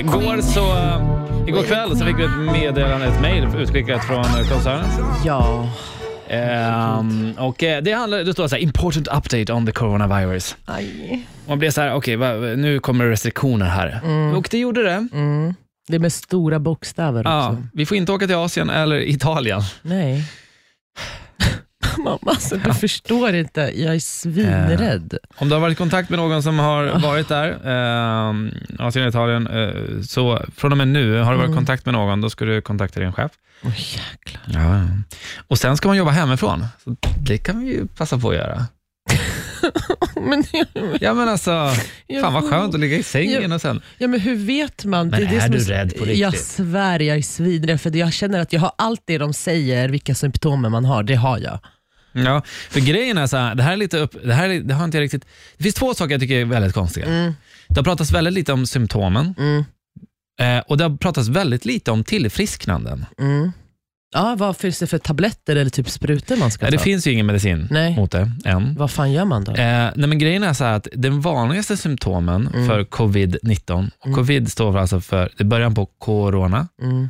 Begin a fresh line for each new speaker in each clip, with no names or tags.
Igår, så, eh, igår kväll så fick vi ett meddelande, ett mejl utskickat från eh, koncernen.
Ja.
Ehm, och eh, det, handlar, det står så här, important update on the coronavirus.
Aj.
Man blev så här, okej, va- nu kommer restriktioner här.
Mm.
Och det gjorde det.
Det är med stora bokstäver
Ja,
också.
vi får inte åka till Asien eller Italien.
Nej. Mamma, alltså, du förstår inte. Jag är svinrädd.
Om du har varit i kontakt med någon som
Ah.
har varit där, ehm, Asien eller Italien, eh, så från och med nu, har du
Mm.
varit i kontakt med någon, då ska du kontakta din chef.
Åh jäklar.
Ja. Och sen ska man jobba hemifrån. Så det kan vi ju passa på att göra.
Men,
Ja men alltså,
jag-
fan vad skönt att ligga i sängen och sen...
Ja, men hur vet man?
Men är
som
du
så-
rädd på riktigt?
Jag svär, jag är svinrädd. För jag känner att jag har allt det de säger, vilka symptomen man har, det har jag.
Ja, för grejen är så här, det här är lite upp... Det, här är, det har inte jag riktigt... Det finns två saker jag tycker är väldigt konstiga. Det har pratats väldigt lite om symptomen
Mm.
eh, och det har pratats väldigt lite om tillfrisknanden.
Mm. Ja, vad finns det för tabletter eller typ sprutor man ska
Ja,
ta?
det finns ju ingen medicin
Nej.
mot det än.
Vad fan gör man då?
Eh, nej men grejen är så här att den vanligaste symptomen
Mm.
för covid-19, och
Mm.
covid står för alltså för, det är början på corona,
Mm.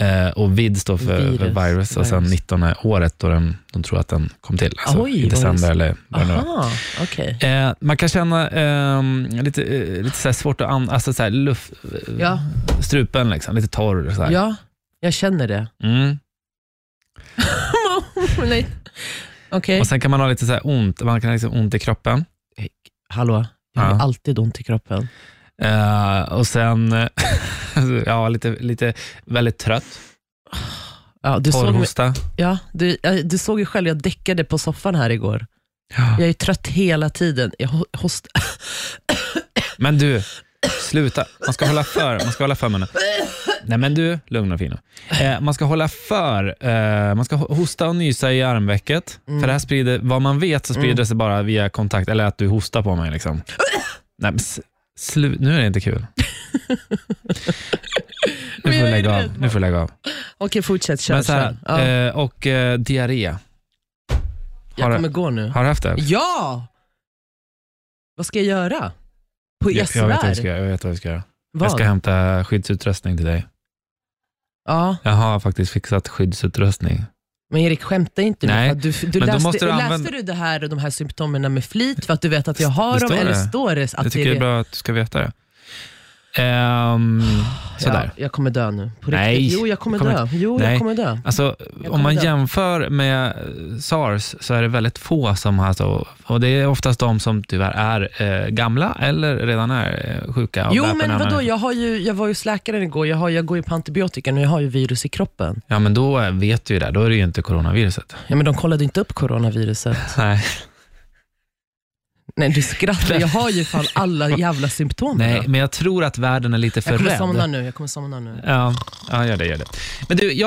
eh, och vid står för virus,
Virus,
för virus och sen
virus.
19 är året då den, de tror att den kom till. Alltså
Oj,
i
vad
december
det-
eller vad det nu var.
Aha, okej.
Eh, man kan känna ehm, lite, eh, lite så här svårt att andas, alltså så här luft, eh,
Ja,
strupen liksom, lite torr. Så här.
ja, jag känner det.
Mm.
Nej. Okej.
Och sen kan man ha lite så här ont, man kan ha liksom ont i kroppen.
Hallå, jag har
Ja.
alltid ont i kroppen.
Eh, och sen, eh, ja lite, lite väldigt trött,
Ja, du, såg, mig-
torrhosta.
ja, du, ja, du såg ju själv, jag däckade på soffan här igår.
Ja.
Jag är trött hela tiden. Jag ho- host,
Men du, sluta. Man ska hålla för, man ska hålla för munnen. Nej men du, lugn och fin nu. eh, Man ska hålla för, eh, man ska ho- hosta och nysa i armvecket. För det här sprider, vad man vet så sprider
Mm.
det sig bara via kontakt, eller att du hostar på mig liksom. Nej men s- slu, nu är det inte kul. Nu får
jag
du
är
lägga
rädd,
av. Nu får du lägga av.
Okej, fortsätt. Kör,
Men så här,
kör. Ja,
eh, och eh, diarré.
jag
har-
kommer gå nu.
Har du haft det?
Ja! Vad ska jag göra? På, jag,
jag, vet vad jag,
svär.
ska, göra, jag vet vad jag ska göra.
Vad?
Jag ska hämta skyddsutrustning till dig.
Ja,
Jag har faktiskt fixat skyddsutrustning.
men Erik skämta inte nu.
Nej,
för att Du, du
men då
läste,
måste du använda-
läste du det här, och de här symptomen med flit för att du vet att jag
Det
har dem
står
eller
det.
står det
jag
att
tycker det är bra att du ska veta det. Ehm, sådär.
Ja, jag kommer dö nu. På riktigt.
Nej,
Jo, jag kommer
du kommer
dö. Jo,
Nej.
jag kommer dö.
Alltså,
Jag
om man
kommer dö.
jämför med eh, sars så är det väldigt få som har, alltså, och det är oftast de som tyvärr är eh, gamla eller redan är eh, sjuka. och
Jo,
bär på en
men
annan-
vadå? Jag, har ju, jag var ju hos läkaren igår. Jag, har, jag går ju på antibiotika och jag har ju virus i kroppen.
Ja, men då eh, vet du ju det. Då är det ju inte coronaviruset.
Ja, men de kollade inte upp coronaviruset.
Nej,
Nej, du skrattar. Jag har ju fan alla jävla symptom.
Nej men jag tror att världen är lite för
jag kommer
rädd.
somna nu. Jag kommer somna nu.
Ja, ja, gör det, gör det. Men du,